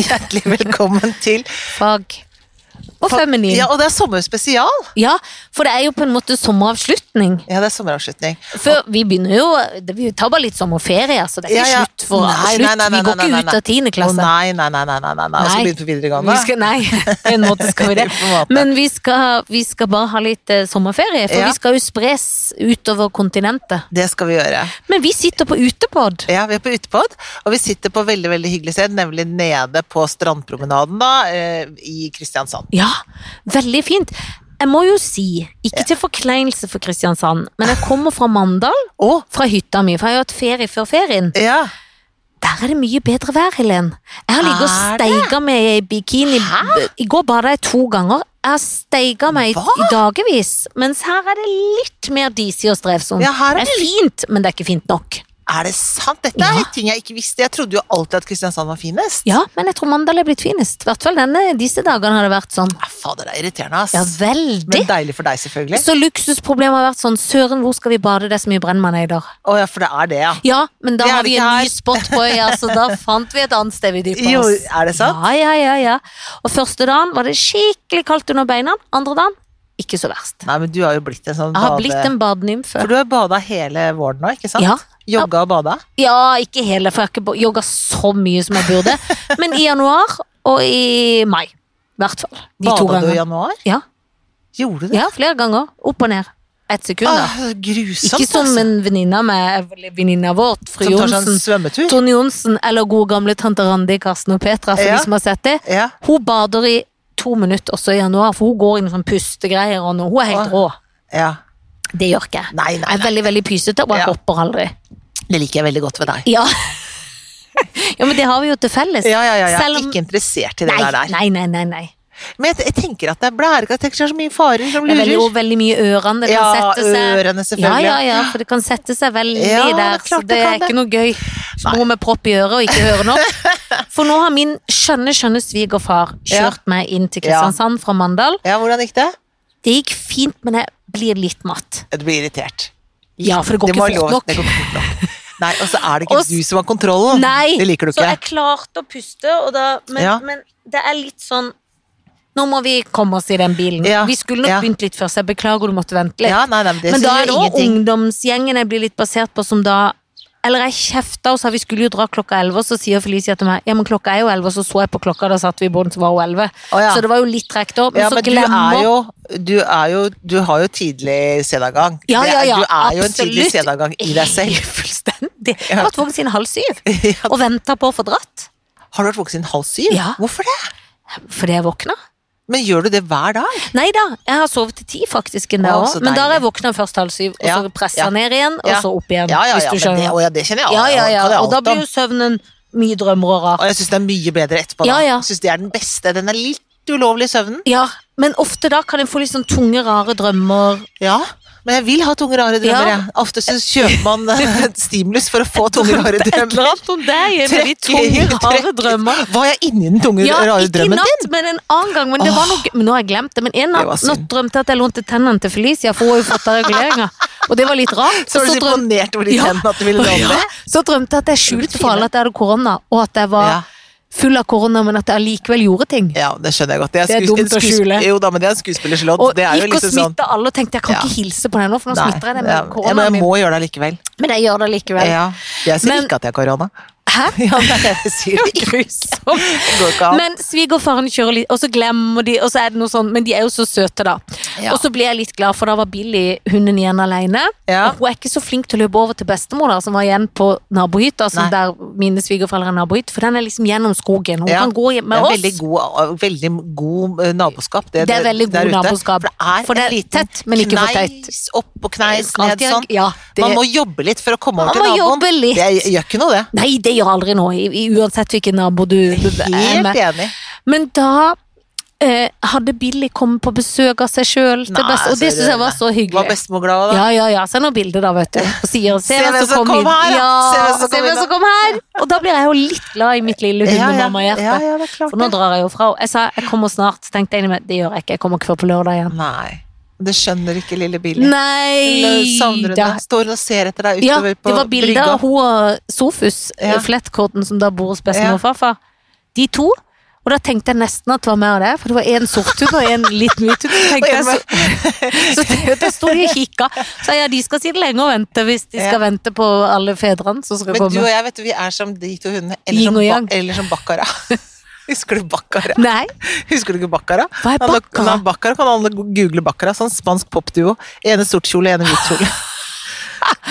Hjertelig velkommen til Fag. Og feminin. Ja, og det er sommerspesial! Ja, for det er jo på en måte sommeravslutning. Ja, det er sommeravslutning. For vi begynner jo det- Vi tar bare litt sommerferie, så det er ikke Ja, ja. slutt for altså, Nei, slutt. nei, nei, vi går nei, nei, ikke nei, ut av tiende Å klasse. nei, nei, nei, nei, nei, nei, nei. Og så Nei. begynne på videregående. Vi skal, nei, på en måte skal vi det. På en måte. Men vi skal, vi skal bare ha litt eh, sommerferie, for Ja. vi skal jo spres utover kontinentet. Det skal vi gjøre. Men vi sitter på utepod. Ja, Vi er på Utepod, og vi sitter på veldig veldig hyggelig sted, nemlig nede på Strandpromenaden da, eh, i Kristiansand. Ja, veldig fint. Jeg må jo si, ikke til forkleinelse for Kristiansand, men jeg kommer fra Mandal, Å! fra hytta mi, for jeg har jo hatt ferie før ferien. Ja. Der er det mye bedre vær, Helen. Jeg har ligget og Er det? steiga meg i bikini. I går bada jeg to ganger. Jeg har steiga meg i, Hva? i dagevis. Mens her er det litt mer disig og strevsomt. Ja, her er det er fint, men det er ikke fint nok. Er det sant? Dette Ja. er ting jeg ikke visste. Jeg trodde jo alltid at Kristiansand var finest. Ja, men jeg tror Mandal er blitt finest. I hvert fall denne, disse dagene har det vært sånn. Ja, Fader, det er irriterende, ass. Ja, veldig. Men deilig for deg, selvfølgelig. Så luksusproblemet har vært sånn Søren, hvor skal vi bade? Det er så mye brennmaneider. Å ja, for det er det, ja. Ja, men da Det er har det vi ikke en her. ny spot på øya, så da fant vi et annet sted vi dypper Jo, oss. er det sant? Ja, ja, ja, ja. Og første dagen var det skikkelig kaldt under beina, andre dagen ikke så verst. Nei, men du har jo blitt en sånn Jeg har bade- blitt en badenymfe. For du har bada hele våren nå, ikke sant? Ja. Jogga og bada. Ja, ikke hele, for jeg har ikke bo- jogga så mye som jeg burde, men i januar og i mai. I hvert fall. De to Bada du i ganger. januar? Ja, Gjorde du det? ja, flere ganger. Opp og ned. Ett sekund, da. Åh, grusomt, Ikke sånn, som Ah, altså. en venninne av meg, eller venninna vår, fru Som tar seg Johnsen. en svømmetur. Tone Johnsen eller gode gamle tante Randi, Karsten og Petra, for Ja. de som har sett det. Ja. Hun bader i to minutter også i januar, for hun går inn i sånn pustegreier og noe. Hun er helt rå. ja. Det gjør ikke jeg. Nei, nei, Jeg er veldig, veldig pysete, og jeg Ja. hopper aldri. Det liker jeg veldig godt ved deg. Ja. ja, men det har vi jo til felles. Ja, ja, ja, Jeg er Selv om- ikke interessert i det Nei, der der. nei, nei, nei, nei. Men jeg, jeg tenker at det er blærete. Jeg tenker det er så mye farer som Det er lurer. veldig, og veldig mye ørene. Det kan Ja, sette seg. ørene Ja, selvfølgelig. ja, ja, for det kan sette seg veldig Ja, det er der, så klart det det er kan det. ikke noe gøy. Små med propp i øret og ikke høre noe. For nå har min skjønne, skjønne svigerfar Ja. kjørt meg inn til Kristiansand fra Mandal. Ja, hvordan gikk det? Det gikk fint, men jeg blir litt matt. Du blir irritert. Ja, for det går må ikke ha lov- fort Det nok. går ikke fort nok. Nei, og så er det Og ikke s- du som har kontrollen. Nei, Det liker du så ikke. jeg klarte å puste, og da, men, Ja. men det er litt sånn Nå må vi komme oss i den bilen. Ja, Vi skulle nok ja. begynt litt før, så jeg beklager du måtte vente litt. Ja, nei, nei, men det Men da gjør er det også ingenting. ungdomsgjengen jeg blir litt basert på som da Eller jeg kjefta og sa vi skulle jo dra klokka 11 og så sier Felicia til meg ja, men klokka er jo 11 og så så jeg på klokka, da satt vi i båten, så var hun 11 Å, ja. Så det var jo litt tregt opp, men Ja, så men du glemmer er, jo, du er jo Du har jo tidlig sedagang. Ja, Det ja, er- ja, Du er jo en absolutt. tidlig sedagang i deg selv. Fullstendig. Jeg har vært våken siden halv syv og venta på å få dratt. Har du vært våken siden halv syv? Ja. Hvorfor det? Fordi jeg våkna. Men gjør du det hver dag? Nei da, jeg har sovet til ti faktisk en dag Å, òg, så men da har jeg deilig. våkna først halv syv, og Ja, så pressa ja. ned igjen, og Ja. så opp igjen. Ja, ja, ja, hvis du men det, skjønner. å, ja, det kjenner jeg. ja, ja, Jeg ja. kan jeg Og da alt om. blir jo søvnen mye drømmer og rart. Og jeg syns det er mye bedre etterpå. Ja, da. ja. Jeg synes det er den beste. Den er litt ulovlig i søvnen. Ja, men ofte da kan en få litt sånn tunge, rare drømmer. Ja, men jeg vil ha tunge, rare drømmer. Ja. jeg. Ofte så kjøper man eh, stimulus for å få tunge, rare Et eller drømmer. annet om deg er med de tunge, Trekker- rare trekker- drømmer. Var jeg inni den tunge, Ja, rare ikke i drømmen din? natt, men en annen gang. Men det var noe, men nå har jeg glemt det. Men en Det var natt, synd. natt drømte jeg at jeg lånte tennene til Felicia, for hun har jo fått av reguleringa. Og det var litt rart. Så var Og du så drøm- imponert over de Ja. tennene at du ville låne Ja, det? så drømte jeg at jeg skjulte for alle at jeg hadde korona, og at jeg var Ja. full av korona, men at jeg allikevel gjorde ting. Ja, det skjønner jeg godt. Det er skues- dumt å skues- skjule. Jo da, men det er en skuespillers lodd. Og Det er jo gikk og liksom sånn smitta alle og tenkte jeg kan Ja. ikke hilse på deg nå, for nå Nei, smitter jeg ja, deg med ja, men koronaen jeg min. må gjøre det likevel. Men jeg gjør det likevel. Ja. Jeg sier Men- ikke at jeg har korona. Hæ? Ja, nei, jeg sier det ikke. Grusomt. Det går ikke an. Men svigerfaren kjører litt, og så glemmer de, og så er det noe sånn, men de er jo så søte, da. Ja. Og så blir jeg litt glad, for da var Billy, hunden igjen alene. Ja. Og hun er ikke så flink til å løpe over til bestemor, da, som var igjen på nabohytta, som Nei. der mine svigerforeldre har nabohytte, for den er liksom gjennom skogen. Hun Ja. kan gå hjem med det er oss. veldig god, veldig god eh, naboskap. Det, Det er veldig god der ute. naboskap. For det er, For det en er liten tett, men ikke for teit. Kneis opp og kneis Skal ned alltid ha- sånn. ja, det- Man må jobbe litt for å komme Man over til må naboen. jobbe litt. Det gjør ikke noe, det. Nei, det gjør aldri noe, i- i- uansett hvilken nabo du, du er Helt med. enig. Men da eh, hadde Billy kommet på besøk av seg sjøl, Nei, og det så syns jeg var så hyggelig. Var bestemor glad av det? Ja, ja, ja. Send noen bilder, da, vet du. Og sier 'se Se hvem som kom, her, da. hit'. Ja, Se hvem som se kom hvem inn, som da. kom her! Og da blir jeg jo litt glad i mitt lille ja, hundemammahjerte. ja, ja, det er klart For nå det. drar jeg jo fra henne. Jeg sa 'jeg kommer snart', så tenkte jeg inni meg 'det gjør jeg ikke', jeg kommer ikke før på lørdag igjen. Nei. Det skjønner ikke lille Billy. Savner Nei hun da. deg? eh, Står hun og ser etter deg Ja, utover det på var bilder brygga? av hun og Sofus, Ja. flettkorten som da bor hos Ja. bestemor og farfar. De to Og da tenkte jeg nesten at det var mer av det, for det var en sorttube og en litt mytube. Så, tenkte jeg, så, så da sto de og kikka. Så ja, de skal sitte lenge og vente hvis de skal Ja. vente på alle fedrene som skal Men du og komme. jeg, vet du, vi er som de to hundene. Eller Yin som, og ba yang. eller som Bakkara. Husker du Bakkara? Nei, Husker du ikke Bakkara? Hva er Alle- Baccara? Nei, Baccara kan alle go- google Bakkara. Sånn spansk popduo. Ene sort kjole, ene hvit kjole.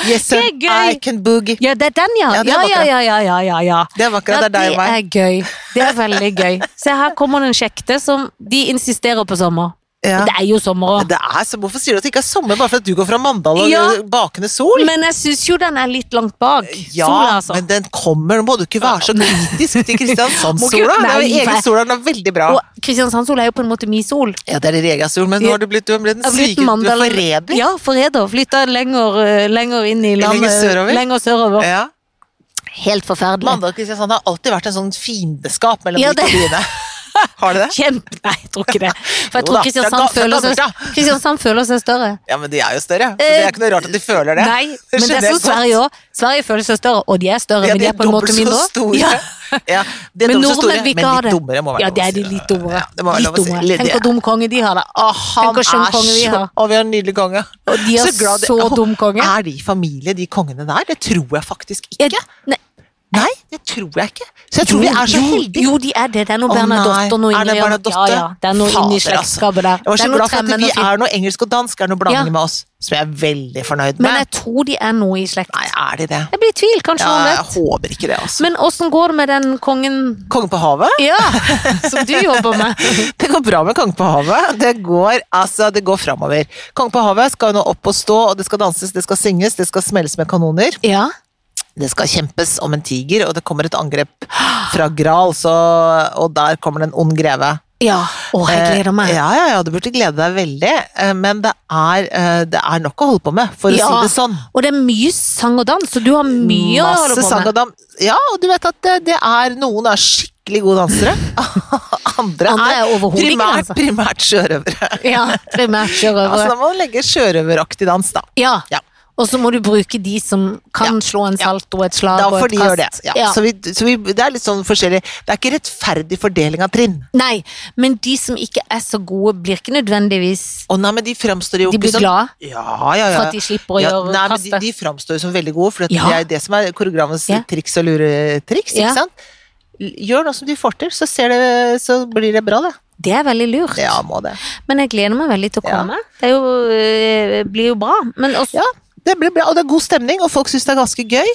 Yes, sir, Det er gøy. I can boogie. ja, det er den, ja. Ja, det er Ja, ja, akkurat. ja, ja, ja, ja. ja. Det er Bakkara, Ja, det er deg og meg. er gøy. Det er veldig gøy. Se, her kommer det en sjekte som de insisterer på sommer. Ja. Det er jo sommer òg. Det er så, hvorfor sier du at det ikke er sommer bare for at du går fra Mandal og Ja. bakende sol? Men jeg syns jo den er litt langt bak. Ja, sola, altså. men den kommer. Nå må du ikke være så kritisk til Må ikke- Kristiansand-sola. Det er Nei, jo egen nei. sola, den er veldig bra. Og Kristiansand-sol er jo på en måte min sol. Ja, det er din egen sol, men nå har du blitt, du har blitt en Jeg har syke, blitt du er Mandal- forræder. Ja, forræder. Flytta lenger, eh, lenger inn i landet. Lenger sørover? Lenger sørover. Ja. Helt forferdelig. Mandal og Kristiansand har alltid vært en sånn fiendeskap mellom Ja, de to det- byene. Har det det? Kjempe... Nei, jeg tror ikke det. For jeg Jo da, tror fra Kristiansand ga- fra føler, seg, gammelt, da. Kristiansand føler seg større. Ja, men de er jo større. Så det er ikke noe rart at de føler det. Nei, men det skjønner er jeg som godt. Sverige òg. Sverige føler seg større, og de er større, Ja, men de er på en måte mindre dobbelt så også. store. Ja. Ja, de er Men dobbelt så store, nordmenn vil men ikke ha litt det. dummere må være Ja, lov det å er de si. litt dummere. Ja, det må være litt lov å si. dummere. Litt- Tenk hvor dum konge de har, da. Å, Tenk han hvor skjønn er konge vi så har. Å, vi har en nydelig konge. Og de er glad de- så Å, dum konge. Er de familie, de kongene der? Det tror jeg faktisk ikke. Ja, nei, Nei, det tror jeg ikke. Så jeg tror vi er så jo, heldige. Jo, de er det. Det er noe Å, nei. Bernadotte og noe Er det Ingrid. Ja, Bernadotte? ja. Det er noe inni Fader, altså. slektskapet der. Jeg var Det så er noe glad for at tremenn vi og fint. er noe engelsk og dansk er noe blanding Ja. med oss, som jeg er veldig fornøyd Men med. jeg tror de er noe i slekt. Nei, er de det? Jeg blir i tvil, kanskje Ja, hun jeg vet. håper ikke det, altså. Men åssen går det med den kongen Kongen på havet? Ja, som du jobber med. Det går bra med Konge på havet. Det går, altså, det går framover. Konge på havet skal nå opp og stå, og det skal danses, det skal synges, det skal smelles med kanoner. Ja. Det skal kjempes om en tiger, og det kommer et angrep fra Gral, så, og der kommer det en ond greve. Ja. Å, jeg gleder Eh, meg. Ja, ja, ja, du burde glede deg veldig, eh, men det er, eh, det er nok å holde på med, for å Ja. si det sånn. Og det er mye sang og dans, så du har mye å holde Masse på sang med. og dam. Ja, og du vet at det, det er noen er skikkelig gode dansere. Andre, Andre er er overhodet ikke altså. primært, dansere. primært sjørøvere. Ja, primært Altså, da sjørøvere. må man legge sjørøveraktig dans, da. Ja. Ja. Og så må du bruke de som kan slå en salto, et slag Da og får et de gjøre det. kast. Ja. Så, vi, så vi, det er litt sånn forskjellig. Det er ikke rettferdig fordeling av trinn. Nei, men de som ikke er så gode, blir ikke nødvendigvis Å nei, men de framstår jo De blir ikke sånn- glad Ja, ja, ja. for at de slipper å ja, gjøre nei, men de, kastet. de framstår jo som veldig gode, for at Ja. det er jo det som er koreografens Ja. triks og luretriks. Ja. Ikke sant? Gjør noe som de får til, så, ser det, så blir det bra, det. Det er veldig lurt. Ja, må det. Men jeg gleder meg veldig til å Ja. komme. Det er jo, øh, blir jo bra. Men også, Ja, det blir bra, og det er god stemning, og folk syns det er ganske gøy.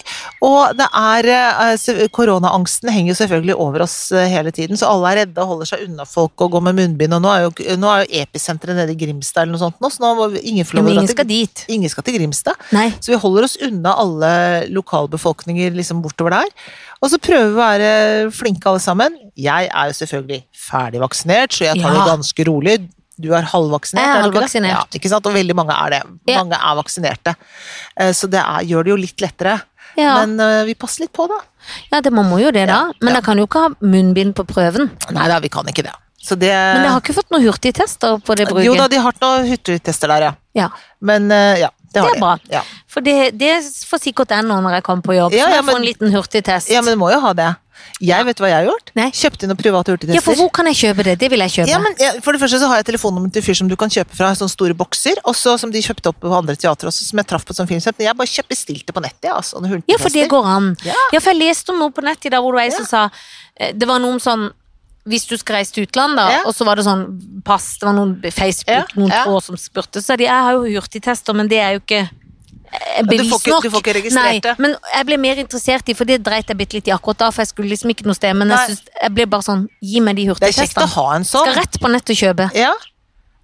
Og det er eh, se- Koronaangsten henger jo selvfølgelig over oss eh, hele tiden, så alle er redde og holder seg unna folk og går med munnbind. Og nå er jo, nå er jo episenteret nede i Grimstad eller noe sånt nå, så nå må vi- ingen få men lov å dra ingen til- skal dit. Ingen skal til Grimstad. Nei. Så vi holder oss unna alle lokalbefolkninger liksom bortover der. Og så prøver vi å være flinke alle sammen. Jeg er jo selvfølgelig ferdig vaksinert, så jeg tar Ja. det ganske rolig. Du er halvvaksinert, Jeg er du ikke det? halvvaksinert. Ja, ikke sant? Og veldig mange er det. Ja. Mange er vaksinerte. Eh, Så det er, gjør det jo litt lettere. Ja. Men eh, vi passer litt på, da. Ja, det, man må jo det, da. Ja, Men ja. da kan du ikke ha munnbind på prøven. Nei da, vi kan ikke det. Så det, Men jeg har ikke fått noen hurtigtester på det bruket. Jo da, de har hatt noen hurtigtester der, ja. Ja, Men eh, ja, det har Det er de. bra. Ja. For det, det får sikkert jeg nå når jeg kommer på jobb. Ja, så må ja, jeg få men- en liten hurtigtest. ja, men du må jo ha det. Jeg vet hva jeg har gjort. Nei. Kjøpte noen private hurtigtester. Ja, for hvor kan jeg kjøpe det? Det vil jeg kjøpe. Ja, men jeg, For det første så har jeg telefonnummeret til en fyr som du kan kjøpe fra. Sånne store bokser, og så som de kjøpte opp på andre teatre også, som jeg traff på et sånt filmsett. Men jeg bare kjøpt bestilte på nettet, jeg, altså. noen Ja, for det hultefester. går an. Ja. Ja. for jeg leste om noe på nettet i dag hvor det var en som sa eh, Det var noen sånn Hvis du skal reise til utlandet, da, Ja. og så var det sånn pass Det var noen Facebook, Ja, noen ja. tråd som spurte, så sa de Jeg har jo hurtigtester, men det er jo ikke eh, du får Bevis ikke- nok. du får ikke registrert Nei, det. Men jeg ble mer interessert i, for det dreit jeg bitte litt i akkurat da, for jeg skulle liksom ikke noe sted, men Nei. jeg, synes, jeg ble bare sånn Gi meg de Det er kjekt å hurtigtestene. ha en sånn. Skal rett på nettet og kjøpe. Ja.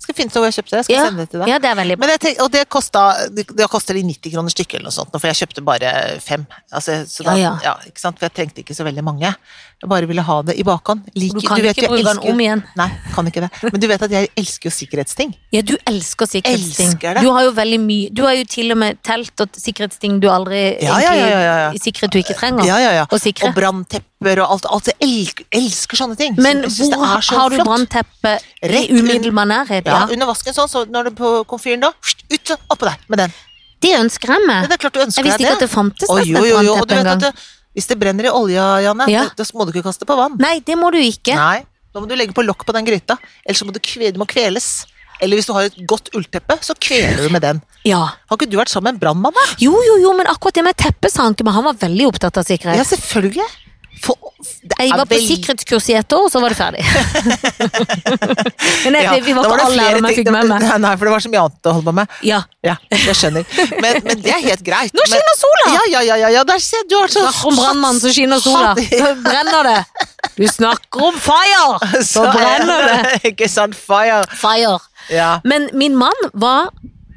Skal finne ut hvor jeg kjøpte det. Skal Ja, sende det til deg. ja, det er veldig bra. Men jeg tenk, og det kosta, det, det koster de 90 kroner stykket eller noe sånt, nå, for jeg kjøpte bare fem. Altså, så da, ja, Ja, ja. ikke sant? For jeg trengte ikke så veldig mange. Jeg bare ville ha det i bakhånd. Liker- Du kan vet ikke jo, jeg bruke den elsker jo- om igjen. Nei, kan ikke det. Men du vet at jeg elsker jo sikkerhetsting. Ja, du elsker sikkerhetsting. Elsker det. Du har jo veldig mye Du har jo til og med telt og sikkerhetsting du aldri Ja, ja, ja, ja, ja. egentlig sikret du ikke trenger. Ja, ja, ja. Å sikre. Og branntepper og alt. alt. Jeg elsker, elsker sånne ting. Men Jeg synes hvor det er så har du flott. brannteppe i Rett umiddelbar nærhet? Ja, Ja. under vasken sånn, så når du er på komfyren da, pst, ut så oppå der med den. Det ønsker jeg Men meg. det er klart du ønsker Jeg visste deg ikke at det fantes Oi, jo, nesten et jo, jo. Og du brannteppe vet engang. at det, hvis det brenner i olja, Janne, Ja. da- da må du ikke kaste på vann. Nei, det må du ikke. Nei. Nå må du legge på lokk på den gryta, ellers så må du, kve, du må kveles. Eller hvis du har et godt ullteppe, så kveler du med den. Ja. Har ikke du vært sammen med en brannmann, da? Jo, jo, jo, men akkurat det med teppet sa han ikke, men han var veldig opptatt av sikkerhet. Ja, selvfølgelig. For, det Jeg var på vel- sikkerhetskurs i ett år, og så var det ferdig. men jeg, Ja, vi var da ikke det all flere lærer jeg ting- fikk med meg. Nei, nei, for det var så mye annet å holde på med. Ja. Ja, jeg skjønner. Men, men det er helt greit. Nå skinner sola! Men, ja, ja, ja, ja, ja, der ser du har så Snakk om brannmannen som skinner sola. Da brenner det. Du snakker om fire! Så brenner det. Ikke sant, fire. Fire. Ja. Men min mann var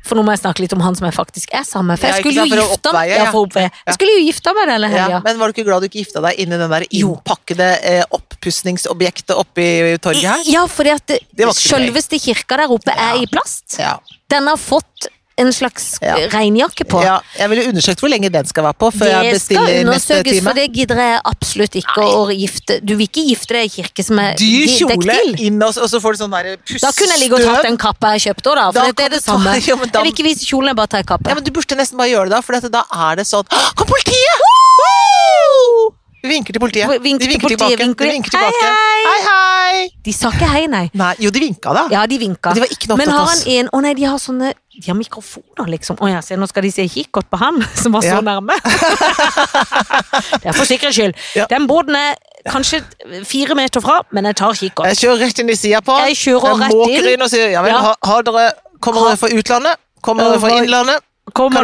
For nå må jeg snakke litt om han som jeg faktisk er sammen med. For Ja, jeg ikke skulle sant, for å jo gifte meg oppveie, ja, ja. for å oppveie. Jeg skulle jo gifte meg denne Ja, helga. men var du ikke glad du ikke gifta deg inn i den der Jo. innpakkede eh, oppussingsobjektet oppi torget her? Ja, fordi at det- Det var ikke så greit. selveste kirka der oppe er i plast. Ja. Den har fått en slags Ja. regnjakke på. ja. Jeg ville undersøkt hvor lenge den skal være på før jeg Det skal bestiller neste undersøkes, time. for det gidder jeg absolutt ikke å gifte Du vil ikke gifte deg i kirke som er Dyr de- kjole dektil. inn, og så- og så får du sånn der Da kunne jeg ligge og tatt den kappa jeg kjøpte òg, da. Da For kan det er det du ta- samme. Ja, men da- Jeg vil ikke vise kjolen, jeg bare tar kappe. Ja, men Du burde nesten bare gjøre det, da, for dette, da er det sånn «Åh, Kom, politiet! Woo! Vi vinker til politiet. Hvor- vinker de til vinker politiet, tilbake. vinker de de. vinker tilbake. Hei, hei, hei! De sa ikke hei, nei. Nei, jo, de vinka, da. Ja, de vinka. Men de var ikke noe Men opptatt av har han oss. en Å nei, de har sånne De har mikrofoner, liksom. Å ja, se, nå skal de se kikkert på han som var så Ja. nærme. det er for sikkerhets skyld. Ja. Den båten er kanskje fire meter fra, men jeg tar kikkert. Jeg kjører rett inn i sida på han. Jeg kjører rett måker inn. inn og sier ja vel, Ja. har, har dere Kommer Har- dere fra utlandet? Kommer dere fra Har- innlandet? Kommer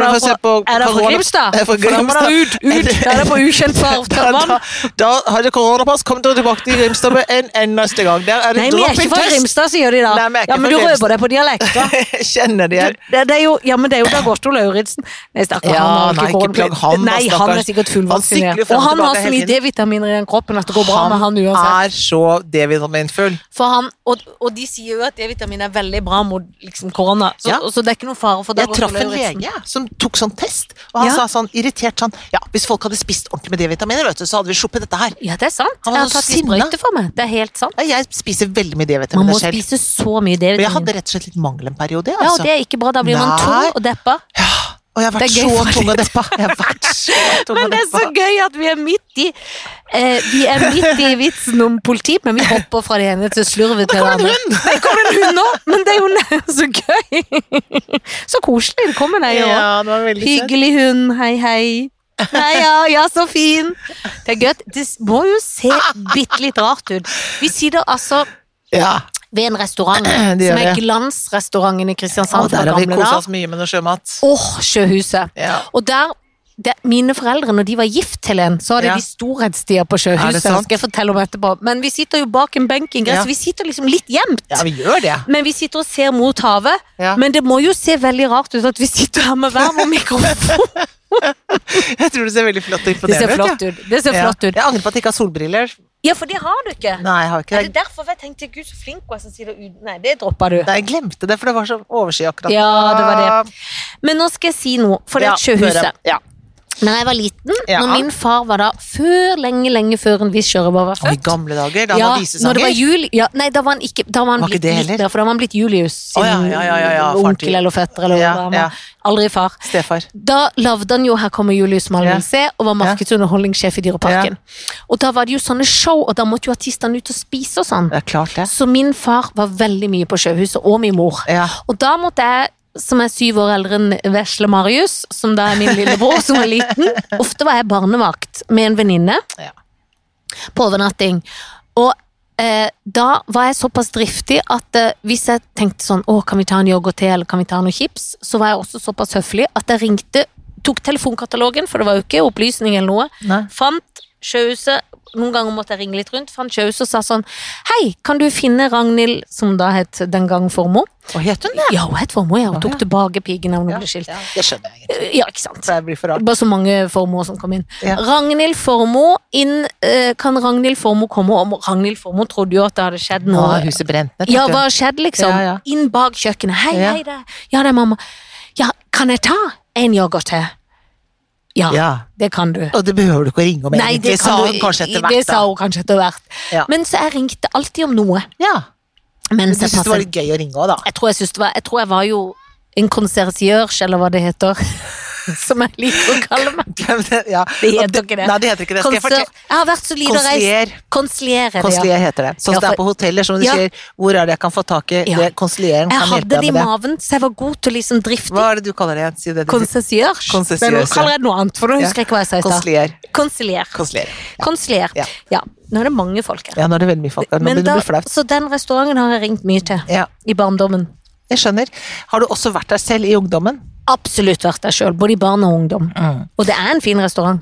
Kan jeg det få se på Er det fra korona- Grimstad? Er det fra For da må Grimstad? det Ut, ut! Da er det på ukjent farft Da, da, vann. da har dere koronapass, kom dere tilbake til Grimstad med en eneste gang. Der er det Nei, vi er ikke fra drop-in-test. Grimstad, sier de da. Nei, vi er ikke ja, men fra du Grimstad. røper deg på dialekter. Jeg Kjenner de igjen. Det, det er jo, ja, men det er jo Dag Otto Lauritzen. Nei, stakkar, Ja, han har nei, ikke ikke korona. plag ham, da, Nei, han er stakkars. sikkert Han sykler fullvaksinert. frem Og og han tilbake har så hele mye tiden. D-vitaminer i den kroppen at det går bra med han uansett. er så D-vitaminfull. For han, og, og de sier jo at D-vitamin er veldig bra mot liksom, korona, så, Ja. så det er ikke noen fare for Dag Jeg Otto traff en Lauritzen. lege som tok sånn test, og han Ja. sa sånn irritert sånn Ja, hvis folk hadde spist ordentlig med D-vitaminer, vet du, så hadde vi sluppet dette her. Ja, det er sant. Han Jeg var har så tatt litt sinna. sprøyte for meg. Det er helt sant. Nei, Jeg spiser veldig mye Man D-vitaminer må selv. spise så mye Men jeg D-vitamin. hadde rett og slett litt mangel en periode, Ja, og altså. det er ikke bra. Da blir man Nei. tung og deppa. og jeg har vært Det er gøy, så tung og deppa. Jeg har vært så tung Men og det er så deppa. gøy at vi er midt i eh, Vi er midt i vitsen om politi, men vi hopper fra det ene til slurvet til det andre. Det kom en hund nå, men det er jo ne- så gøy! Så koselig. Det kom en ei òg. Ja, det var veldig søtt. Hyggelig hund. Hei, hei. Nei, ja, ja, så fin. Det er gøy. Det må jo se bitte litt rart ut. Vi sitter altså Ja. ved en restaurant Det gjør som er vi. Glansrestauranten i Og Kristiansand fra der har vi gamle kosa dager. oss mye med noe sjømat. Åh, Sjøhuset. Ja. Og der, det, mine foreldre, når de var gift, Helen, så hadde Ja. de storhetstida på Er sjøhuset. det sant? skal jeg fortelle om etterpå. Men vi sitter jo bak en benk i en gress, Ja. så vi sitter liksom litt gjemt. Ja, vi gjør det. Men vi sitter og ser mot havet. Ja. Men det må jo se veldig rart ut at vi sitter her med hver vår mikrofon. Jeg tror det ser veldig flott og Det ser imponerende ut. flott ut. Det ser Ja. flott ut. Jeg angrer på at jeg ikke har solbriller. Ja, for det har du ikke. Nei, jeg har ikke Er det det. derfor jeg tenkte gud så flink hun er som sitter uten Nei, det droppa du. Nei, jeg glemte det, for det var så overskyet akkurat. Ja, det var Men nå skal jeg si noe, for det er Ja, et sjøhuset. høre. Ja. Når jeg var liten, Ja. når min far var da før lenge, lenge før en viss sjørøver var Og I født gamle dager, da han ja, var når det var visesanger. jul, ja, nei, da var han ikke Da var han Var ikke blitt det litt heller? der, for da var han blitt Julius sin Å, ja, ja, ja, ja, ja, far til. onkel eller fetter eller Ja, hva han ja. var. Aldri far. Stefar. Da lagde han jo 'Her kommer Julius som alle Ja. vil se', og var markedsunderholdningssjef i Dyreparken. Og da var det jo sånne show, og da måtte jo artistene ut og spise og sånn. Det er klart, det. Så min far var veldig mye på Sjøhuset, og min mor. Ja. Og da måtte jeg, som er syv år eldre enn vesle Marius, som da er min lillebror som var liten Ofte var jeg barnevakt med en venninne Ja. på overnatting. Og eh, da var jeg såpass driftig at eh, hvis jeg tenkte sånn Å, kan vi ta en yoghurt til, eller kan vi ta noen chips? Så var jeg også såpass høflig at jeg ringte, tok telefonkatalogen, for det var jo ikke opplysning eller noe. Nei. Fant Sjøhuset, noen ganger måtte jeg ringe litt rundt, fant Sjøhuset og sa sånn Hei, kan du finne Ragnhild, som da het den gang Formoe? Hva het hun, da? Ja, hun het Formoe, ja. Hun tok Ja. tilbake pigenavnet og Ja, ble skilt. ja, det skjønner jeg egentlig. Ja, ikke sant. For jeg blir for Det rart. var så mange formuer som kom inn. Ja. Ragnhild Formoe inn eh, Kan Ragnhild Formoe komme? Og Ragnhild Formoe trodde jo at det hadde skjedd Nå noe. er huset brent ned. Ja, tenkte hva hun. har skjedd, liksom? Ja, ja. Inn bak kjøkkenet. Hei, Ja. hei, det er- Ja, det er mamma. Ja, kan jeg ta en yoghurt til? Ja, ja. det kan du. Og det behøver du ikke å ringe om, Nei, egentlig, det, sa kan hun du, kanskje etter det hvert. sa da. hun kanskje etter hvert. Ja. Men så jeg ringte alltid om noe. Ja. Du Mens jeg, syntes det var passet, litt gøy å ringe òg, da. jeg tror jeg syntes det var Jeg tror jeg var jo en konsersiørs, eller hva det heter. som jeg liker å kalle meg. ja. Det Og heter ikke det. Nei, det heter ikke det. Skal jeg Konser- fortelle? jeg har vært så lid og reist. Konsilier. Konsiliere, det, ja. Konsilier heter det. Sånn som Ja, det for- er på hoteller, som du Ja. sier. Hvor er det jeg kan få tak i? Ja. Det Konsilieren Jeg kan hadde hjelpe det i deg med det. maven, så jeg var god til å liksom drifte. Hva er det du kaller det? igjen? Si det du sier. Konsessiørs. Konsessiørs, Men nå ja. kaller jeg det noe annet, for nå Ja. husker jeg ikke hva jeg sa i stad. Konsilier. Konsilier. Konsilier. Konsilier. Ja. Ja. Nå er det mange folk her. Ja, nå er det veldig mye folk her. Nå Men begynner det da, å bli flaut. så den restauranten har jeg ringt mye til Ja, i barndommen. jeg skjønner. Har du også vært der selv i ungdommen? Absolutt vært der sjøl, både i barn og ungdom. Mm. Og det er en fin restaurant.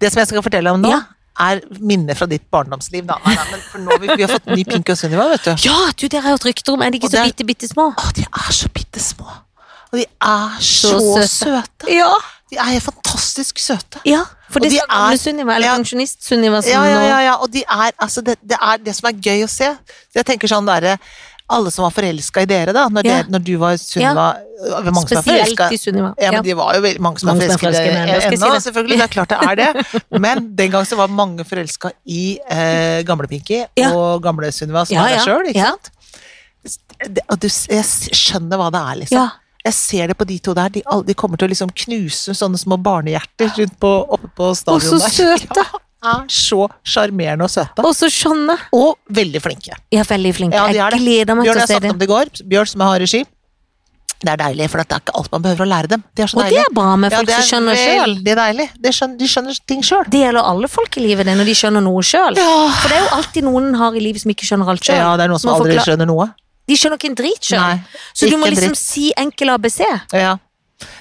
Det som jeg skal fortelle om nå, Ja. er minner fra ditt barndomsliv. Da. Nei, nei, men for nå, vi, vi har fått ny Pinky og Sunniva, vet du. Ja, du, det har jeg hørt rykter om. Er de ikke Og så det er- bitte, bitte små? Å, de er så bitte små. Og de er så, søte. søte. Ja. De er helt fantastisk søte. ja for Og det de er gamle er- Sunniva, Ja. eller pensjonist-Sunniva, som Ja, nå ja, ja, ja. Og de er, altså, det, det er det som er gøy å se. Jeg tenker sånn derre alle som var forelska i dere, da, når, Ja. dere, når du var Sunniva ja. mange som er Spesielt forelska. i Sunniva. Ja, men Ja. de var jo veldig, mange som Mange er som er forelska i forelska i dere hverandre, skal jeg ennå, si det. selvfølgelig. Det er klart det er det. Men den gang så var mange forelska i eh, gamle Pinky Ja. og gamle Sunniva, som Ja, er ja. deg sjøl, ikke Ja. sant? Det, og du, s- jeg s- skjønner hva det er, liksom. Ja. Jeg ser det på de to der. De, all- de kommer til å liksom knuse sånne små barnehjerter rundt på, oppe på Og så stadion der. søte! Ja, er så sjarmerende og søte. Og så skjønne. Og veldig flinke. Ja, veldig flinke. Ja, de er jeg det. gleder meg Bjørn, til jeg å se snakket dem. om det i går. Bjørn, som har regi. Det er deilig, for det er ikke alt man behøver å lære dem. Det er så Og det deilig. er bra med Ja, folk det som skjønner sjøl. veldig deilig. Det skjønner, de skjønner ting sjøl. Det gjelder alle folk i livet, det, når de skjønner noe sjøl. For det er jo alltid noen en har i livet som ikke skjønner alt sjøl. Ja, det er noen som Man får aldri klar- skjønner noe. De skjønner ikke en drit Nei, sjøl. Så du ikke må en liksom dritt. si enkel ABC, Ja.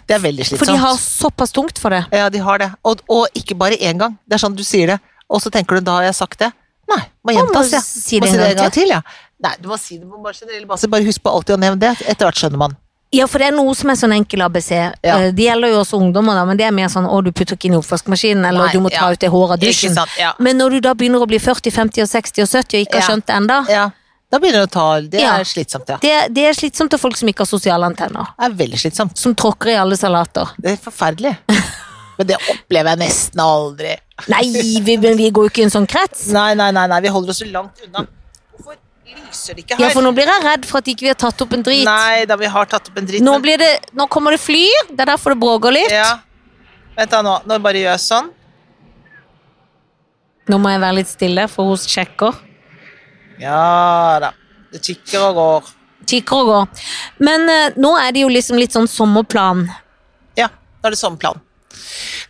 Det er veldig for de slitsomt. har såpass tungt for det. Ja, de har det. Og, og ikke bare én gang. Det er sånn du sier det, og så tenker du da har jeg sagt det. Nei, må Å, må gjentas, ja. si Må det en gang ja. Nei, du må si det på bare generell basis. Bare husk på alltid å nevne det. Etter hvert skjønner man. Ja, for det er noe som er sånn enkel ABC. Ja. Eh, Det gjelder jo også ungdommer, da, men det er mer sånn å, du putter ikke inn i oppvaskmaskinen, eller Nei, du må ta ja. ut det håret av Ikke dusjen. sant? Ja. Men når du da begynner å bli 40, 50, og 60 og 70 og ikke har Ja. skjønt det ennå, Ja, da begynner det å ta Det Ja. er slitsomt, ja. det, det er slitsomt til folk som ikke har sosiale antenner. Det er veldig slitsomt. Som tråkker i alle salater. Det er forferdelig. Men det opplever jeg nesten aldri. Altså, Nei, vi, men vi går jo ikke i en sånn krets. Nei, nei, nei, nei, vi holder oss så langt unna. Hvorfor lyser det ikke Ja, her? for nå blir jeg redd for at ikke vi har tatt opp en drit. Nei da, vi har tatt opp en dritt. Nå, men- blir det, nå kommer det fly, det er derfor det bråker litt. ja. Vent da nå, nå bare gjør jeg sånn. Nå må jeg være litt stille, for hun sjekker. Ja da. Det tikker og går. Tikker og går. Men eh, nå er det jo liksom litt sånn sommerplan. Ja, da er det sånn plan.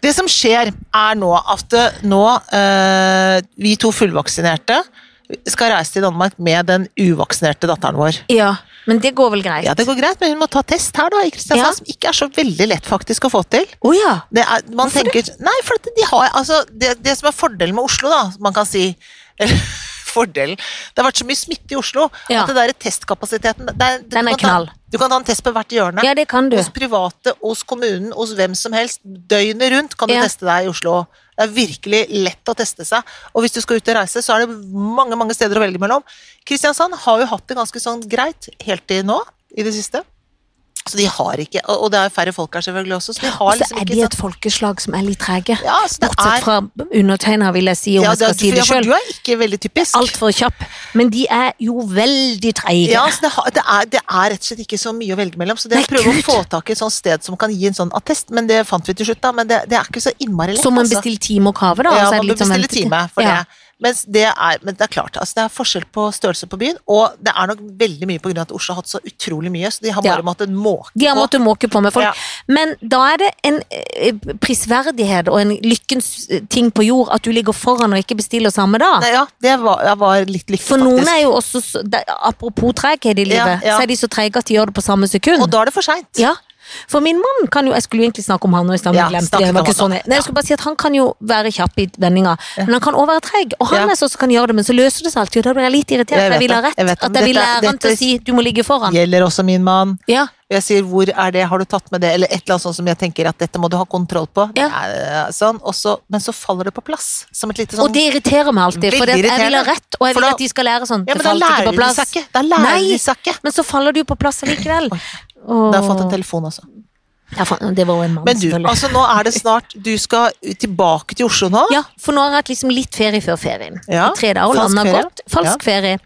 Det som skjer er nå at eh, nå eh, vi to fullvaksinerte skal reise til Danmark med den uvaksinerte datteren vår. Ja, men det går vel greit? Ja, det går greit, men hun må ta test her da, i Kristiansand, Ja. som ikke er så veldig lett faktisk å få til. Å ja. Det er, man tenker, Nei, for at de har, altså, det, det som er fordelen med Oslo, da, man kan si Fordelen Det har vært så mye smitte i Oslo Ja. at det der testkapasiteten det er, Den er du kan ta- knall. Du kan ta en test på hvert hjørne. Ja, det kan du. Hos private, hos kommunen, hos hvem som helst. Døgnet rundt kan du Ja. teste deg i Oslo. Det er virkelig lett å teste seg. Og hvis du skal ut og reise, så er det mange mange steder å velge mellom. Kristiansand har jo hatt det ganske sånn greit helt til nå, i det siste. Så de har ikke Og og det er færre folk her selvfølgelig også, så de har Og så liksom er ikke de sånn- et folkeslag som er litt trege. Ja, så det Bortsett er fra undertegna, vil jeg si, om ja, jeg skal det er- si det for sjøl. Du er ikke veldig typisk. Altfor kjapp. Men de er jo veldig treige. Ja, så det, har- det, er, det er rett og slett ikke så mye å velge mellom. Så det Nei, å prøve kult. å få tak i et sånt sted som kan gi en sånn attest, men det fant vi til slutt, da. Men det, det er ikke så innmari lett. Så man altså. bestiller time og kave, da. Ja, og så man er det bør litt sånn bestille ventetid. time for ja. det. Mens det er, men det er klart, altså det er forskjell på størrelse på byen, og det er nok veldig mye på grunn av at Oslo har hatt så utrolig mye, så de har bare Ja. måttet måke De har måttet måke på med folk. Ja. Men da er det en eh, prisverdighet og en lykkens eh, ting på jord at du ligger foran og ikke bestiller samme dag. Nei, ja, det var, jeg var litt lykkelig, For faktisk. noen er jo også, så- de- apropos treghet i livet, ja. så er de så treige at de gjør det på samme Og sekund. da er det for seint. Ja. For min mann kan jo Jeg skulle jo egentlig snakke om han nå i stedet, men Ja, jeg glemte snakk det. det. var om ikke han sånn. da. jeg- Nei, jeg skulle bare si at Han kan jo være kjapp i vendinga, men han kan også være treig. Og han Ja. er sånn som kan gjøre det, men så løser det seg alltid. Og da blir jeg litt irritert, Jeg for jeg vet vil ha det, rett. jeg vet det, at men jeg vil dette- lære han til dette- å Sånn. si 'du må ligge foran'. Gjelder også min mann. Ja. Og jeg sier 'hvor er det, har du tatt med det', eller et eller annet sånt som jeg tenker at dette må du ha kontroll på. Ja. Nei, Sånn, og så, men så faller det på plass, som et lite sånn Og det irriterer meg alltid, for Veldig jeg vil ha irriterende. rett, og jeg For vil da- at de skal lære sånn. Ja, men det da falt ikke lærer på de plass. seg ikke. Da lærer Nei. de seg ikke. Men så faller du på plass allikevel. Oi. Åh. Da har jeg fått en telefon også. Ja, faen, Det var jo en mann, Men du, selvfølgelig. altså nå er det snart Du skal tilbake til Oslo nå? Ja, for nå har jeg hatt liksom litt ferie før ferien. Ja, I Tre dager og falsk landa ferie. godt. Falsk ferie.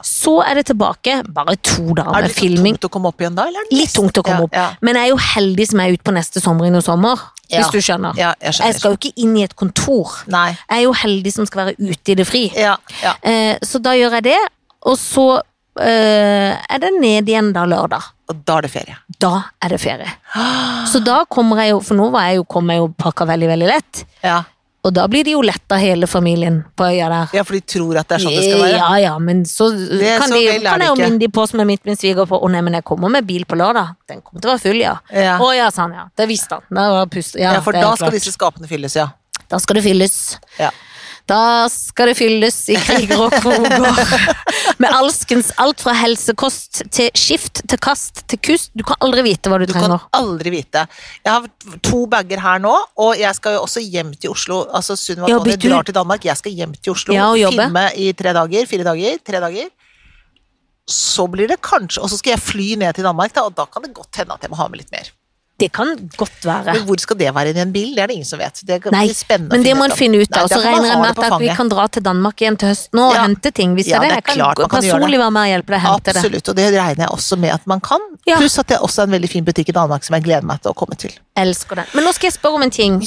Så er det tilbake. Bare to dager Er det liksom med litt filming. tungt å komme opp igjen da? Eller er det Litt tungt å komme opp. Ja, Men jeg er jo heldig som er ute på neste sommer i noe sommer. ja. Ja. hvis du skjønner. Ja, jeg Jeg skjønner. skal jo ikke inn i et kontor. Nei. Jeg er jo heldig som skal være ute i det fri. Ja, ja. Eh, så da gjør jeg det, og så eh, er det ned igjen da lørdag. Og da er det ferie. Da er det ferie. Så da kommer jeg jo, for nå var jeg jo, kom jeg jo pakka veldig, veldig lett. Ja. Og da blir det jo lett av hele familien på øya der. ja, for de tror at det er sånn det skal være. Ja, ja, men så er kan, så de, vel er kan det jeg jo ikke. minne de på som er midt med sviger på, å nei, men jeg kommer med bil på lørdag. Den kommer til å være full, ja. Ja. Å ja, sa han, ja. Det visste han. Det var pust. Ja, Ja, for det er da skal klart. disse skapene fylles, ja. Da skal det fylles. Ja. Da skal det fylles i kriger og kroger. Med alskens alt fra helsekost til skift til kast til kust. Du kan aldri vite hva du, Du kan trenger. aldri vite. Jeg har to bager her nå, og jeg skal jo også hjem til Oslo. Altså Sunniva Ja, Tonje bytter du- drar til Danmark, jeg skal hjem til Oslo. Ja, og jobbe. filme i tre dager, fire dager, tre dager. Så blir det kanskje Og så skal jeg fly ned til Danmark, da, og da kan det godt hende at jeg må ha med litt mer. Det kan godt være. Men hvor skal det være i en bil? Det er det ingen som vet. Det blir Nei, spennende å men det må ut en av. finne ut Nei, av. Og så derfor man regner jeg har med det at på at vi fanget. kan dra til Danmark igjen til høsten nå og Ja. hente ting. Hvis Ja, det det er er det. Jeg klart kan man kan gjøre personlig være med og hjelpe deg å hente det. Absolutt, og det regner jeg også med at man kan. Ja. Pluss at det er også en veldig fin butikk i Danmark som jeg gleder meg til å komme til. Elsker det. Men nå skal jeg spørre om en ting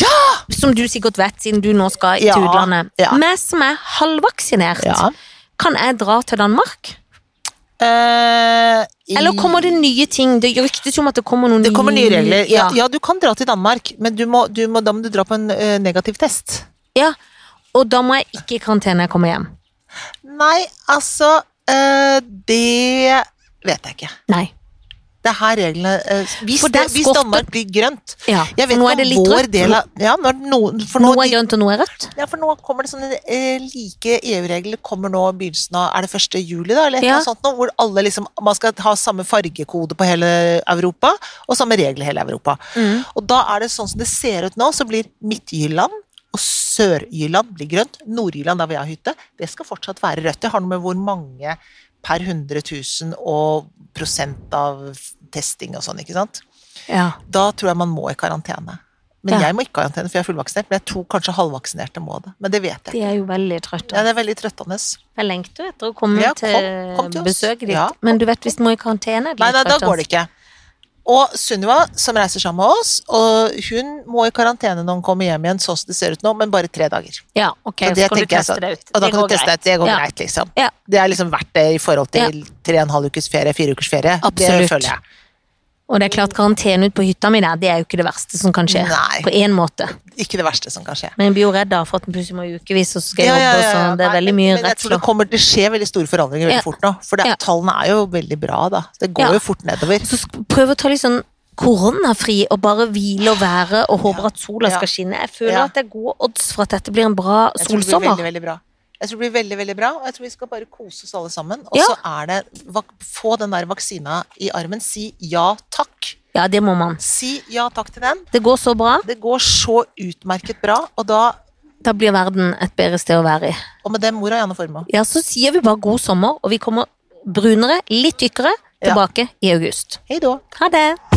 som du sikkert vet, siden du nå skal Ja, til utlandet. ja. Vi som er halvvaksinert, Ja. kan jeg dra til Danmark? Eh, i- Eller kommer det nye ting? Det ryktes jo om at det kommer noen Det kommer nye regler. Ja, ja. ja, du kan dra til Danmark, men du må, du må, da må du dra på en eh, negativ test. Ja. Og da må jeg ikke i karantene når jeg kommer hjem. Nei, altså eh, Det vet jeg ikke. Nei. Det er her reglene eh, hvis, For det, der hvis skorter- Danmark blir grønt Ja. Jeg vet nå ikke er det om litt vår rødt. del av ja, når, noen- for nå, Nå er grønt, og nå er rødt. ja, for nå kommer det sånne eh, like EU-regler kommer nå i begynnelsen av Er det 1. juli, da? Eller et Ja. eller annet sånt nå, hvor alle liksom Man skal ha samme fargekode på hele Europa, og samme regler i hele Europa. Mm. Og da er det sånn som det ser ut nå, så blir Midtjylland og Sør-Jylland blir grønt. Nord-Jylland, der hvor jeg har hytte, det skal fortsatt være rødt. Det har noe med hvor mange per 100 000 og prosent av testing og sånn, ikke sant. Ja. Da tror jeg man må i karantene. Men Ja. jeg må ikke i karantene, for jeg er fullvaksinert. Men jeg tror kanskje halvvaksinerte må det. Men det vet jeg. De er jo veldig trøtte. Ja, det er veldig trøttende. Jeg lengter jo etter å komme Ja, til, kom- kom til oss. besøket ditt, Ja, men du vet hvis du må i karantene Nei, nei, da går det ikke. Og Sunniva, som reiser sammen med oss, og hun må i karantene når hun kommer hjem igjen, sånn som det ser ut nå, men bare tre dager. altså. Ja, ok, Så det så, kan du tenker jeg teste sånn. det ut. Og da Det kan går du teste greit. at det går Ja. greit, liksom. Ja. Det er liksom verdt det i forhold til tre og en halv ukes ferie, fire ukers ferie. Absolutt. Det føler jeg. Og det er klart, karantene ut på hytta mi der, det er jo ikke det verste som kan skje. Nei. På én måte. Ikke det verste som kan skje. Men jeg blir jo redd da for at den plutselig må i ukevis, og så skal jeg jobbe, og sånn. Det Nei, er men- veldig mye men jeg tror det, redsler. kommer, det skjer veldig store forandringer veldig Ja. fort nå. For det, Ja. tallene er jo veldig bra, da. Det går Ja. jo fort nedover. Så sk- prøv å ta litt sånn koronafri og bare hvile og være og håper at sola Ja. skal skinne. Jeg føler Ja. at det er gode odds for at dette blir en bra Jeg tror det blir solsommer. veldig, veldig bra. Jeg tror det blir veldig, veldig bra, og jeg tror vi skal bare kose oss alle sammen. Og Ja. så er det vak- Få den der vaksina i armen. Si ja takk. Ja, det må man. Si ja takk til den. Det går så bra. Det går så utmerket bra, og da Da blir verden et bedre sted å være i. Og med det mor av Janne Formoe. Ja, så sier vi bare god sommer, og vi kommer brunere, litt tykkere, Ja. tilbake i august. Hei då. Ha det!